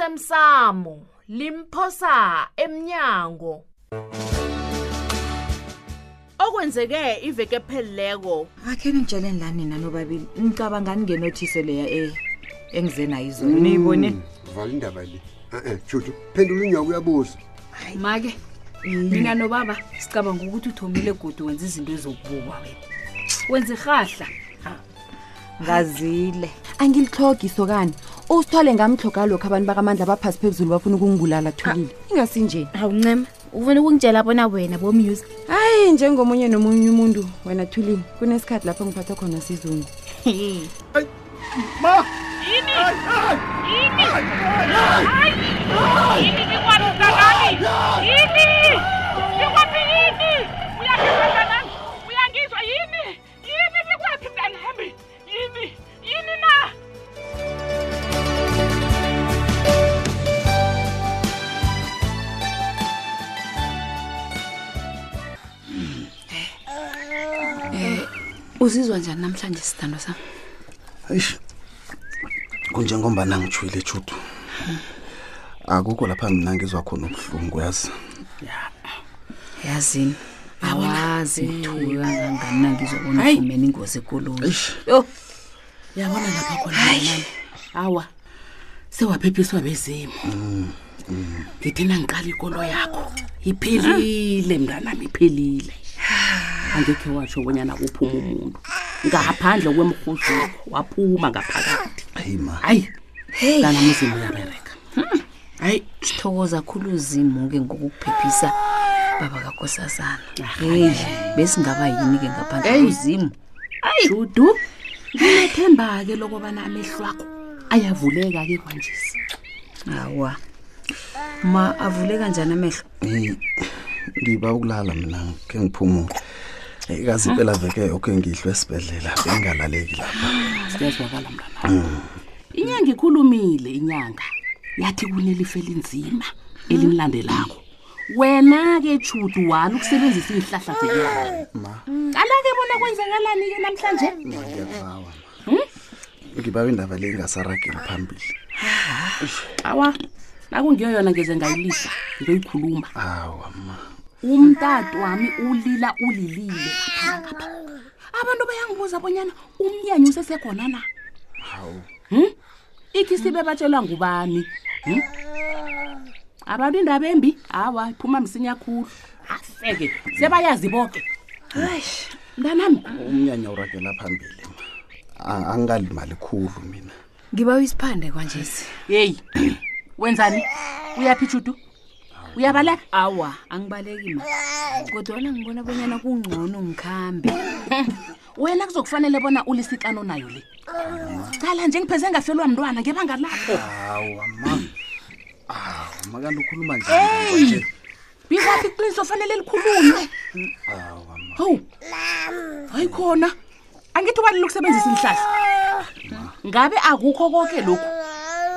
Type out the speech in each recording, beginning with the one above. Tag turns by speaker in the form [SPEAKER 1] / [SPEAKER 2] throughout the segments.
[SPEAKER 1] osemsamo limphosa emnyango okwenzeke iveke phelileko
[SPEAKER 2] akhe ningitsheleni lani nanobabili ngicabangani ngenothiso leya e- engize nayo izolo niyibonile
[SPEAKER 3] vala indaba le e-e judu phendula unyaka uyabuza
[SPEAKER 4] make mina nobaba sicabanga ukuthi uthomile godi wenza izinto ezokubukwa wena wenza irhahla
[SPEAKER 2] ngazile
[SPEAKER 5] angilihlogi sokani usithole ngamhloga lokhu abantu bakamandla baphasi phezulu bafuna ukungibulala thulile
[SPEAKER 4] Ah.
[SPEAKER 5] ingasinje
[SPEAKER 6] awuncema ufuna ukungitshela bona wena bomusic
[SPEAKER 5] hayi njengomunye nomunye umuntu wena thulile kunesikhathi lapho ngiphatha khona sizungu
[SPEAKER 4] uzizwa njani namhlanje sithando sam
[SPEAKER 7] eish kunjengombana ngijwile judu akukho lapha mina ngizwa khona ubuhlungu yazi
[SPEAKER 4] yazini awazi ngithuka kangani nangizobona ufumene ingozi ekoloyi
[SPEAKER 8] yabona lapha khona mntanami, awa sewaphephiswa bezimo ngithi nangiqala ikolo yakho iphelile mntanami iphelile angekhe watsho bonyana kuphuma umuntu ngaphandle kwemrhuzuko waphuma ngaphakathi
[SPEAKER 7] hayi ma
[SPEAKER 8] hayi mntanami uzimo uyabereka hayi
[SPEAKER 4] Hmm. sithokoza khulu uzimo-ke ngokukuphephisa baba kakosazana
[SPEAKER 8] Ah,
[SPEAKER 4] heyi besingaba yini-ke ngaphandle kuzimo
[SPEAKER 8] judu nginathemba-ke lokobana amehlo akho ayavuleka-ke kwanjesi
[SPEAKER 4] hawa ma avule kanjani amehlo
[SPEAKER 7] Eh, ngiba ukulala mina ke ngiphumule Eh, kazi impela veke yonke ngihlwe esibhedlela bengalaleki lapha
[SPEAKER 8] siyazwakala mntwana inyanga ikhulumile inyanga yathi kunelife elinzima elimlandelako wena-ke judu wani ukusebenzisa iy'hlahla zenyanga kana-ke bona kwenzakalani-ke namhlanje
[SPEAKER 7] ngiyakubawa ngibawa Hmm? indaba le ingasarageli phambili
[SPEAKER 8] awa nakungiyo yona ngeze ngayilisa ngiyoyikhuluma
[SPEAKER 7] awa ma
[SPEAKER 8] umtato wami ulila ulilile ngaphana ngapha abantu bayangibuza bonyana umnyanya Hmm? usesekhona na
[SPEAKER 7] hawu
[SPEAKER 8] ikhisibe batshelwa ngubani hmm? abantu indaba embi hawa iphuma msinya khulu afeke sebayazi boke mntanami
[SPEAKER 7] umnyanya uragela phambili ma A- angingalimali khulu mina
[SPEAKER 4] ngiba uyisiphande kwanjesi
[SPEAKER 8] heyi wenzani uyaphi judu uyabaleka
[SPEAKER 4] awa angibaleki ma kodwana ngibona bonyana kungcono ngikhambe
[SPEAKER 8] wena kuzokufanele bona ulisikano nayo le cala nje ngipheze ngafelwa mntwana ngebanga lapho
[SPEAKER 7] awa ma Ah, awa makanti ukhuluma nje
[SPEAKER 8] bikaphi iqiniso fanele likhulunywe
[SPEAKER 7] awa ma
[SPEAKER 8] hawu hayi khona angithi ubani lokusebenzisa ihlahla ngabe akukho konke lokhu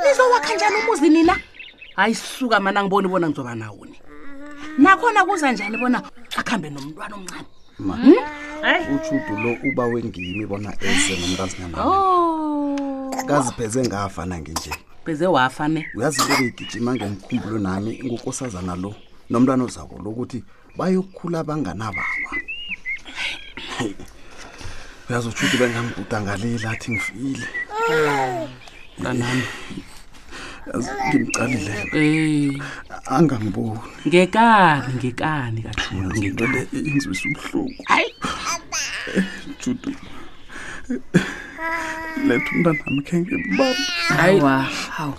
[SPEAKER 8] nizowakha njani umuzi nina hayi suka mana ngiboni bona ngizoba nawoni nakhona kuza njani bona akuhambe nomntwana omncane
[SPEAKER 7] ma ujudu lo uba wengimi bona eze
[SPEAKER 8] Oh.
[SPEAKER 7] nomntazinyana
[SPEAKER 8] o
[SPEAKER 7] kazipheze ngafa nanginje
[SPEAKER 8] beze wafa ne
[SPEAKER 7] uyazi into beyigijima ngemkhumbulo nami ngunkosazana lo nomntwana ozako lokuthi bayokhula banganababa uyazi utshuthi bengamguda ngaleli athi ngifile
[SPEAKER 8] mntanami
[SPEAKER 7] Yazi, ngimcalile
[SPEAKER 8] ey
[SPEAKER 7] angangiboni
[SPEAKER 8] ngekani ngekani kathulu
[SPEAKER 7] into le ingizwisa ubuhlungu
[SPEAKER 8] hayi
[SPEAKER 7] judu letha umntanami khe ngibaba
[SPEAKER 8] hayi
[SPEAKER 4] awa hawu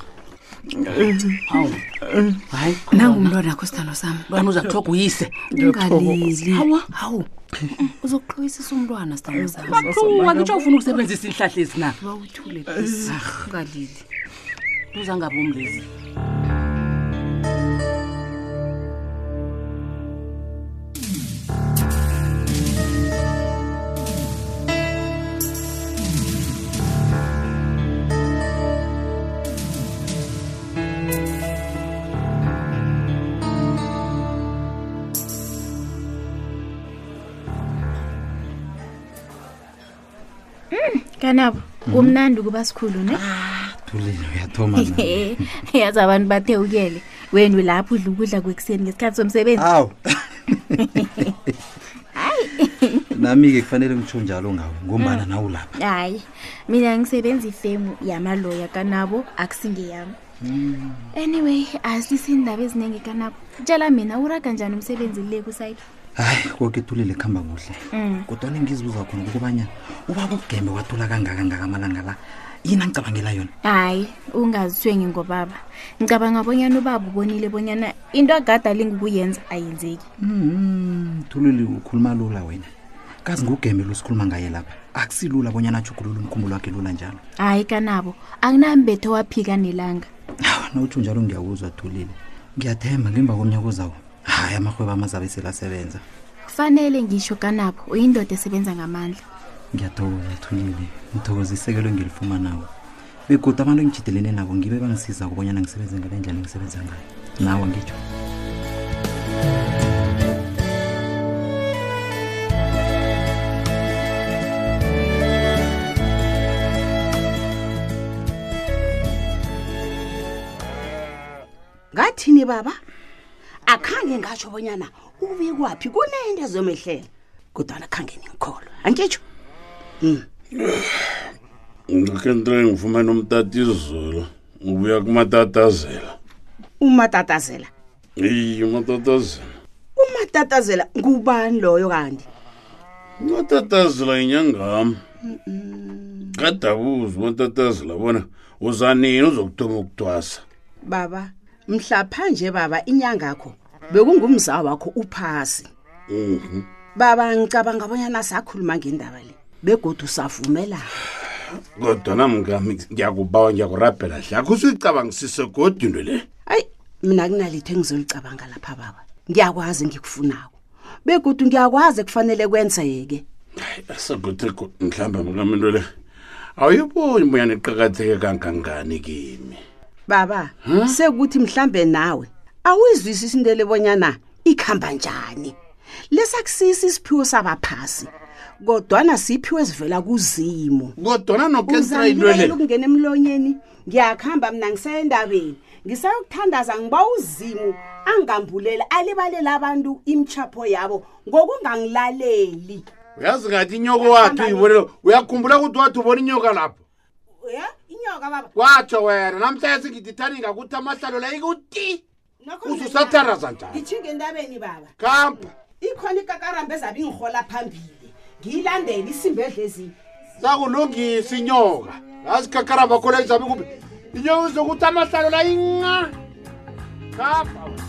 [SPEAKER 8] hawu hayi
[SPEAKER 4] nangumntwana akho sithando sam
[SPEAKER 8] mntwana uza kuthoga uyise
[SPEAKER 4] ungalili
[SPEAKER 8] Awa.
[SPEAKER 4] hawu uzokuxoyisisa umntwana sithando sam
[SPEAKER 8] bathuwa ngitsho ufuna ukusebenzisa iinhlahla ezi na
[SPEAKER 4] uba uthule please. Ah. ungalili
[SPEAKER 8] uza ngabom lezi
[SPEAKER 6] kanabo kumnandi ukuba sikhulu ne
[SPEAKER 7] thulile uyathoma nawe.
[SPEAKER 6] yazi abantu bathewukele wenu lapho udla ukudla kwekuseni ngesikhathi somsebenzi
[SPEAKER 7] awu nami-ke kufanele ngitsho njalo ngawe ngombana nawe lapha
[SPEAKER 6] hayi mina ngisebenza ifemu yamaloya kanabo akusingeyami anyway asilisi indaba eziningi kanabo tshela mina uraga njani umsebenzi le kusayike
[SPEAKER 7] hayi koke ethulile kuhamba kuhle kodwana engizibuza khona kokubanya ubaba ugembe wathula kangaka ngaka amalanga la yini angicabangela yona
[SPEAKER 6] hayi ungazithwengi ngobaba ngicabanga bonyana ubaba ubonile bonyana into agada lingukuyenza ayenzeki
[SPEAKER 7] Mhm, thulile ukhuluma lula wena kazi ngugembe losikhuluma ngaye lapha akusilula bonyana ajugulula umkhumbulo wakhe lula njalo
[SPEAKER 6] hayi kanabo akunambetho waphika nelanga
[SPEAKER 7] hawu nawutsho njalo ngiyawuzwa thulile ngiyathemba ngemva komnyaka ozawo hayi amarhwebo amazabe selasebenza
[SPEAKER 6] kufanele ngisho kanabo uyindoda esebenza ngamandla
[SPEAKER 7] ngiyathokoza thulile ngithokoza isekelo engilifumanawo begoda abantu engijidelene nabo ngibe bangisiza kubonyana ngisebenze ngale ndlela engisebenza ngayo nawe ngitsho
[SPEAKER 8] ngathini baba akhange ngatsho bonyana ube kwaphi kunento ezomehlela kodwana khange ningikholwa angitsho
[SPEAKER 9] ngikhe ntole ngifumane umtatizulu ubuya kumatatazela
[SPEAKER 8] umatatazela
[SPEAKER 9] eyi umatatazela
[SPEAKER 8] umatatazela ngubani loyo kanti
[SPEAKER 9] umatatazela yinyangami kadabuzi umatatazela bona uzanini uzokuthoma ukudwasa
[SPEAKER 8] baba mhlaphanje baba inyangakho bekungumzawo wakho uphasi
[SPEAKER 9] Mhm.
[SPEAKER 8] baba ngicabanga bonyana sakhuluma ngendaba le begodu savumelana
[SPEAKER 9] kodwa namngami ngiyakubawa ngiyakurabhela hle akho usuyicabangisise godi into le
[SPEAKER 8] hayi mina kunalitho engizolicabanga lapha baba ngiyakwazi ngikufunako begodu ngiyakwazi kufanele kwenzeke
[SPEAKER 9] asagotheko mhlawumbe mngami into le awuyiboni bonyana iqakatheke kangangani kimi
[SPEAKER 8] baba sekuthi mhlambe nawe awuyizwisisi into lebonyana ikhamba njani lesakusisi isiphiwo sabaphasi kodwana siphiwe sivela kuzimo
[SPEAKER 9] kodwana nokestra into
[SPEAKER 8] uzangilela
[SPEAKER 9] le
[SPEAKER 8] ukungena emlonyeni ngiyakuhamba mina ngiseya endabeni ngisayokuthandaza ngiba uzimu angambulela alibalele abantu imchapho yabo ngokungangilaleli
[SPEAKER 9] uyazi ngathi inyoko wathi uyibonelo uyakhumbula ukuthi wathi ubona inyoka lapho
[SPEAKER 8] ya inyoka baba
[SPEAKER 9] kwatsho wena namhlanje singidithani ngakuthi amahlalo la ikuti uzusatharaza njani
[SPEAKER 8] ngithinge entabeni baba
[SPEAKER 9] kampa
[SPEAKER 8] ikhona ikakarambe ezabe ingihola phambili ngiyilandele isimbedle ezini
[SPEAKER 9] sakulungisa inyoka lazikhakhara bakho la izabe kumbe inyoka izokuthi amahlalo la inqa kampa wena.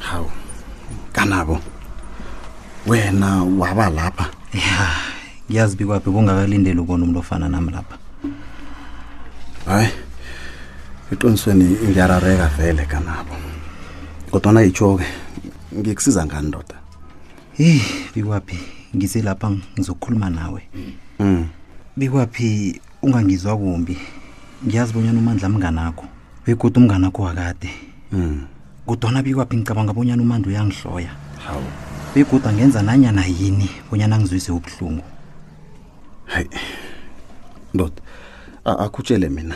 [SPEAKER 7] hawu kanabo wena waba lapha ya ngiyazi bikwaphi kungakalindeli ukona umuntu ofana nami lapha hayi eqinisweni ngiyarareka vele kanabo kodwana yitsho-ke ngikusiza ngani ndoda heyi bikwaphi ngiselapha ngizokhuluma nawe mm. bikwaphi ungangizwa kumbi ngiyazi bonyana umandla mnganakho begoda umnganakho wakade mm. kodwana bikwaphi ngicabanga bonyana umandla uyangihloya hawu begoda ngenza nanyana yini bonyana ngizwise ubuhlungu hayi ndoda akhutshele mina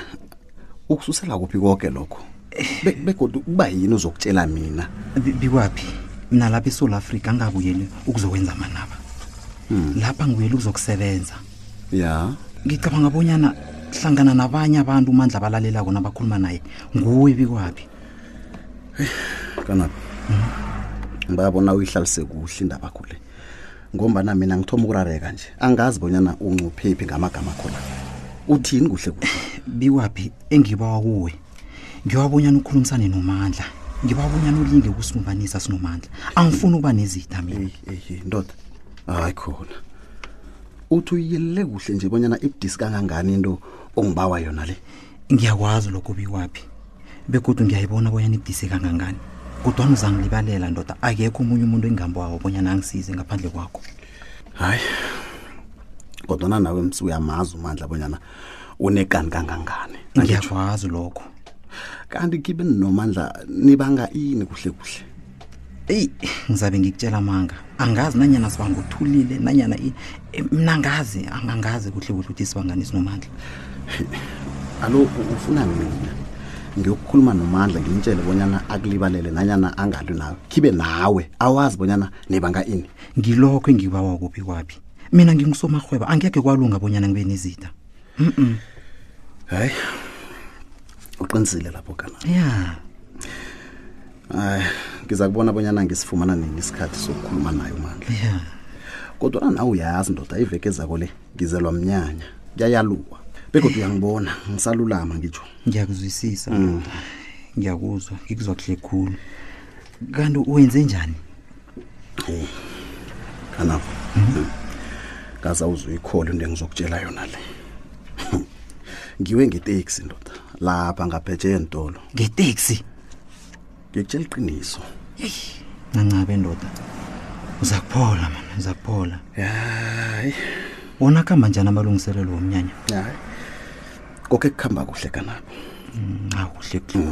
[SPEAKER 7] ukususela kuphi konke lokho begoda kuba yini uzokutshela mina bikwaphi mina lapha esoul africa angabuyeli ukuzokwenza amanaba lapha ngibuyeli ukuzokusebenza ya ngicabanga bonyana hlangana nabanye abantu umandla abalalelako nabakhuluma naye nguwe bikwaphi kanabo ngibabona uyihlalise kuhle indaba akho le ngombana mina ngithoma ukurareka nje angazi bonyana uncuphephi ngamagama akho la uthini kuhle kuhle biwaphi engibawa kuwe ngiyawabonyana ukhulumisane nomandla ngibabonyana ulinge ukusibumbanisa sinomandla angifuni ukuba nezitha mina ndoda hayi khona uthi uyelele kuhle nje bonyana ibudisi kangangani into ongibawa yona le ngiyakwazi lokho biwaphi begodwa ngiyayibona bonyana ibudise kangangani kodwana uzangilibalela ndoda akekho omunye umuntu engingambawo bonyana angisize ngaphandle kwakho hayi kodwana nawe msi uyamazi umandla bonyana unekani kangangani
[SPEAKER 10] ngiyakwazi lokho
[SPEAKER 7] kanti kibe nomandla nibanga ini kuhle kuhle
[SPEAKER 10] eyi ngizabe ngikutshela amanga angazi nanyana sibanga uthulile nanyana i- eh, mna ngazi angangazi kuhle kuhle ukuthi sibangani sinomandla
[SPEAKER 7] alo u- ufuna mina ngiyokukhuluma nomandla ngimtshele bonyana akulibalele nanyana angalwi nawe khibe nawe awazi bonyana nibanga ini
[SPEAKER 10] ngilokho engibawa kuphi kwaphi mina ngingusomarhweba angekhe kwalunga bonyana ngibe nezida mm
[SPEAKER 7] hayi uqinisile lapho kana
[SPEAKER 10] ya
[SPEAKER 7] hayi ngiza kubona bonyana ngisifumana nini isikhathi sokukhuluma naye umandla
[SPEAKER 10] ya
[SPEAKER 7] kodwana nawe uyazi ndoda iveke ezako le ngizelwa mnyanya kuyayaluwa begodwa uyangibona ngisalulama ngitsho
[SPEAKER 10] ngiyakuzwisisa ngiyakuzwa ngikuzwa kuhle khulu kanti wenze njani
[SPEAKER 7] Eh, kanabo ngaza uzuyikhole into engizokutshela yona le ngiwe ngeteksi ndoda lapha ngaphethe yentolo
[SPEAKER 10] ngeteksi
[SPEAKER 7] ngikutshela iqiniso
[SPEAKER 10] nancabe ndoda uza kuphola mana uza kuphola
[SPEAKER 7] hayi
[SPEAKER 10] wona kuhamba njani amalungiselelo womnyanya
[SPEAKER 7] hayi koke kuhamba kuhle kanabo
[SPEAKER 10] aw kuhle kuhle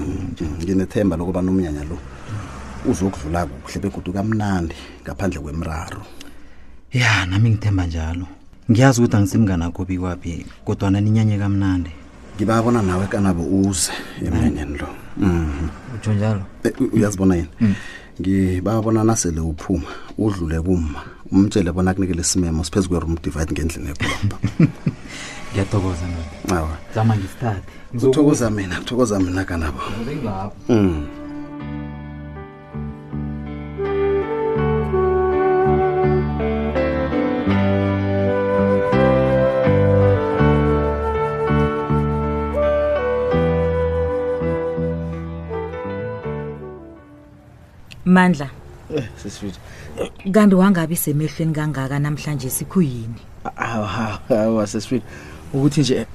[SPEAKER 7] nginethemba lokubana umnyanya lo uzokudlula kuhle begodu kamnandi ngaphandle kwemraro
[SPEAKER 10] ya nami ngithemba njalo ngiyazi ukuthi angisimnganakho bikwaphi kodwana ninyanye kamnandi
[SPEAKER 7] ngibabona nawe kanabo uze emnyanyeni lo Mhm.
[SPEAKER 10] utsho njalo
[SPEAKER 7] Eh, u- uyazibona yini ngibabona nasele uphuma udlule kumma umtshele bona kunikele simemo siphezu kwe-room divide ngendlini ekulomba
[SPEAKER 10] ngiyathokoza mina
[SPEAKER 7] awa
[SPEAKER 10] zama ngisithathe
[SPEAKER 7] uthokoza mina uthokoza mina kanabo
[SPEAKER 10] ngizokuzengapho
[SPEAKER 7] mm.
[SPEAKER 6] mandla
[SPEAKER 9] Eh, sisifithu
[SPEAKER 6] kanti wangabi semehlweni kangaka namhlanje sikhuyini
[SPEAKER 9] awa sisifithu ukuthi nje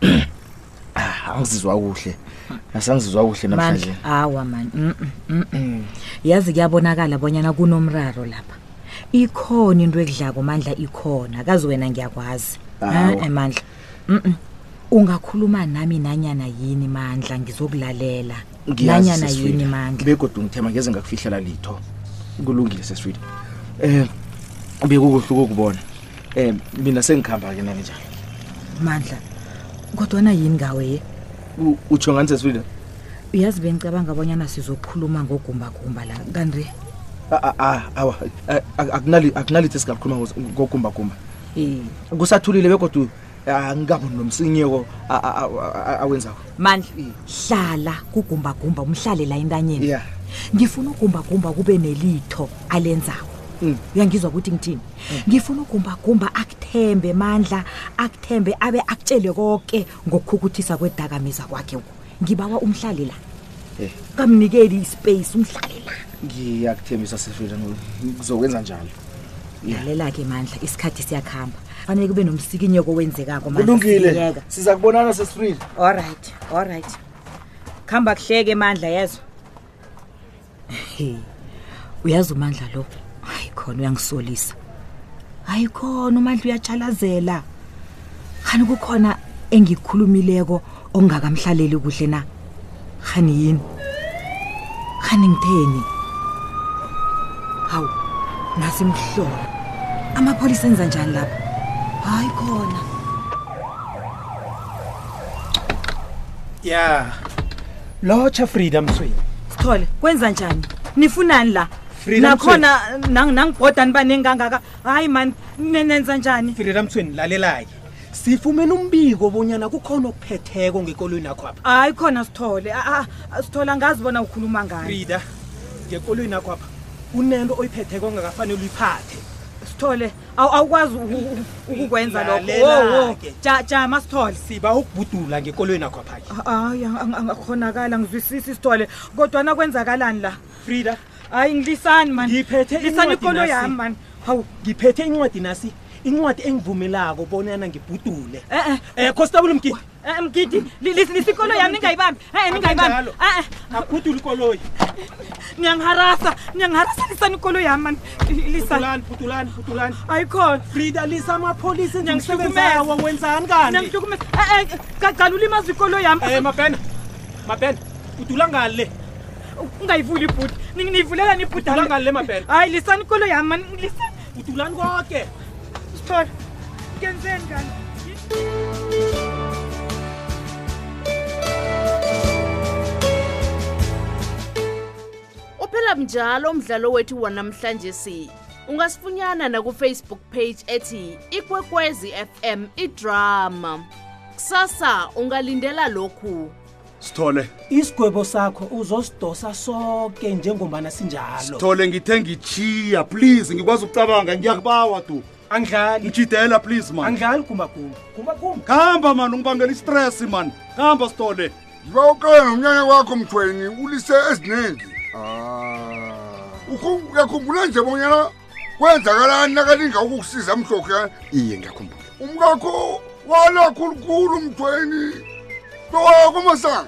[SPEAKER 9] ah, angizizwa kuhle asangizizwa kuhle namhlanje
[SPEAKER 6] mandla awa mani mm, mm, mm. yazi kuyabonakala bonyana kunomraro lapha ikhona into ekudlako mandla ikhona kazi wena ngiyakwazi
[SPEAKER 9] Awa.
[SPEAKER 6] Eh, eh, mandla Mm, mm. ungakhuluma nami nanyana yini mandla ngizokulalela
[SPEAKER 9] Ngiyazi,
[SPEAKER 6] nanyana
[SPEAKER 9] Sesi Sweet.
[SPEAKER 6] yini mandla
[SPEAKER 9] begodwa ngithemba ngeze ngakufihlela litho kulungile sesifithu um bekukuhle ukukubona um mina sengihamba-ke nami njalo
[SPEAKER 6] mandla kodwana yini ngawe
[SPEAKER 9] U- utsho ngani sesifithu
[SPEAKER 6] uyazi bengicabanga bonyana sizokhuluma ngogumbagumba la kanti
[SPEAKER 9] A- a- a- awa a- a- akunali- akunalithi esingakhuluma ngoz- ngogumbagumba kusathulile begodwa angingaboni nomsinyeko a- a- a- a- awenzako
[SPEAKER 6] mandla hlala kugumbagumba umhlale la entanyeni
[SPEAKER 9] yeah.
[SPEAKER 6] ngifuna ugumbagumba kube nelitho alenzako uyangizwa ukuthi ngithini ngifuna ugumbagumba akuthembe mandla akuthembe abe akutshele konke ngokukhukuthisa kwedakamiza kwakhe uku. ngibawa umhlali la
[SPEAKER 9] Eh.
[SPEAKER 6] kamnikeli ispace umhlali la
[SPEAKER 9] ngiyakuthembisa sifile ngizokwenza njalo
[SPEAKER 6] lalela-ke mandla isikhathi siyakuhamba fanele kube nomsikinyeko owenzekako Mandla,
[SPEAKER 9] kulungile
[SPEAKER 6] sikinyeka.
[SPEAKER 9] siza kubonana sesifile
[SPEAKER 6] allright allright kuhamba kuhleke mandla yezwa he uyazi umandla lo hayi khona uyangisolisa hayi khona umandla uyatshalazela khani kukhona engikukhulumileko okungakamhlaleli kuhle na khani yini khani ngitheni hawu nasimhlobo amapholisa enza njani lapha hayi khona
[SPEAKER 8] ya lotsha frida msweni
[SPEAKER 6] sithole kwenza njani nifunani la
[SPEAKER 8] Freedom
[SPEAKER 6] nakhona nang- nangibhoda nibanengi kangaka hayi mani nenenza njani
[SPEAKER 8] frida msweni lalelaye sifumene umbiko bonyana kukhona okuphetheko ngekolweni yakho apha
[SPEAKER 6] hayi khona sithole Ah, ah, sithole angazi bona ukhuluma ngani
[SPEAKER 8] frida ngekolweni yakho apha kunento oyiphetheko ongakafanele uyiphathe
[SPEAKER 6] sithole awu- awukwazi uku- uku- ukukwenza lokho Wo, wo.
[SPEAKER 8] Lalela-ke.
[SPEAKER 6] jama sithole
[SPEAKER 8] siba ukubhudula ngekolweni yakho apha
[SPEAKER 6] hayi Ah, ang- ang- angakhonakala ngizwisisi sithole kodwana kwenzakalani la
[SPEAKER 8] frida
[SPEAKER 6] hayi ngilisani mani
[SPEAKER 8] ngiphethe
[SPEAKER 6] lisani
[SPEAKER 8] incwadi
[SPEAKER 6] ikolo
[SPEAKER 8] nasi.
[SPEAKER 6] yami mani
[SPEAKER 8] hawu ngiphethe incwadi nasi incwadi engivumelako bonana ngibhudule
[SPEAKER 6] Eh,
[SPEAKER 8] um constable mgidi
[SPEAKER 11] Eh, mgidi lisilisa ikolo yami ningayibambi
[SPEAKER 6] Eh,
[SPEAKER 11] e ningayibambi
[SPEAKER 8] Akunjalo. akhudula ikoloyi
[SPEAKER 11] niyangiharasa niyangiharasa lisani ikolo yami mani
[SPEAKER 8] phutulani phutulani phutulani
[SPEAKER 11] ayikhona
[SPEAKER 8] frida lisa amapholisa njengisebenzawo wenzani kani
[SPEAKER 11] niyangihlukumeza e galula imazwi ikolo yami
[SPEAKER 8] um mabhena mabhena udula ngani le
[SPEAKER 11] ungayivuli ibhuti niyivulelani
[SPEAKER 8] udula ngani le mabhena
[SPEAKER 11] hayi lisani ikolo yami mani lisani
[SPEAKER 8] udulani konke
[SPEAKER 11] sithola kenzeni kani
[SPEAKER 1] uphela mnjalo umdlalo wethu wanamhlanje si ungasifunyana nakufacebook page ethi ikwekwezi fm idrama kusasa ungalindela lokhu
[SPEAKER 9] sithole
[SPEAKER 8] isigwebo sakho uzosidosa sonke njengombana sinjalo
[SPEAKER 9] sithole ngithe ngitshiya please ngikwazi ukucabanga ngiyakubawa tu
[SPEAKER 8] angidlali
[SPEAKER 9] ngijidela please man
[SPEAKER 8] angidlali gumbagumba gumbagumba
[SPEAKER 9] khamba mani ungibangela istress mani khamba sithole
[SPEAKER 7] ngibawuqela nomnyanya wakho mthweni ulise eziningi Ukhu- uyakhumbula nje bonyana kwenzakalani nakalinga ukukusiza mhlokhe
[SPEAKER 12] iye ngiyakhumbula
[SPEAKER 7] umkakho wala khulukhulu mthweni bewaya kumasana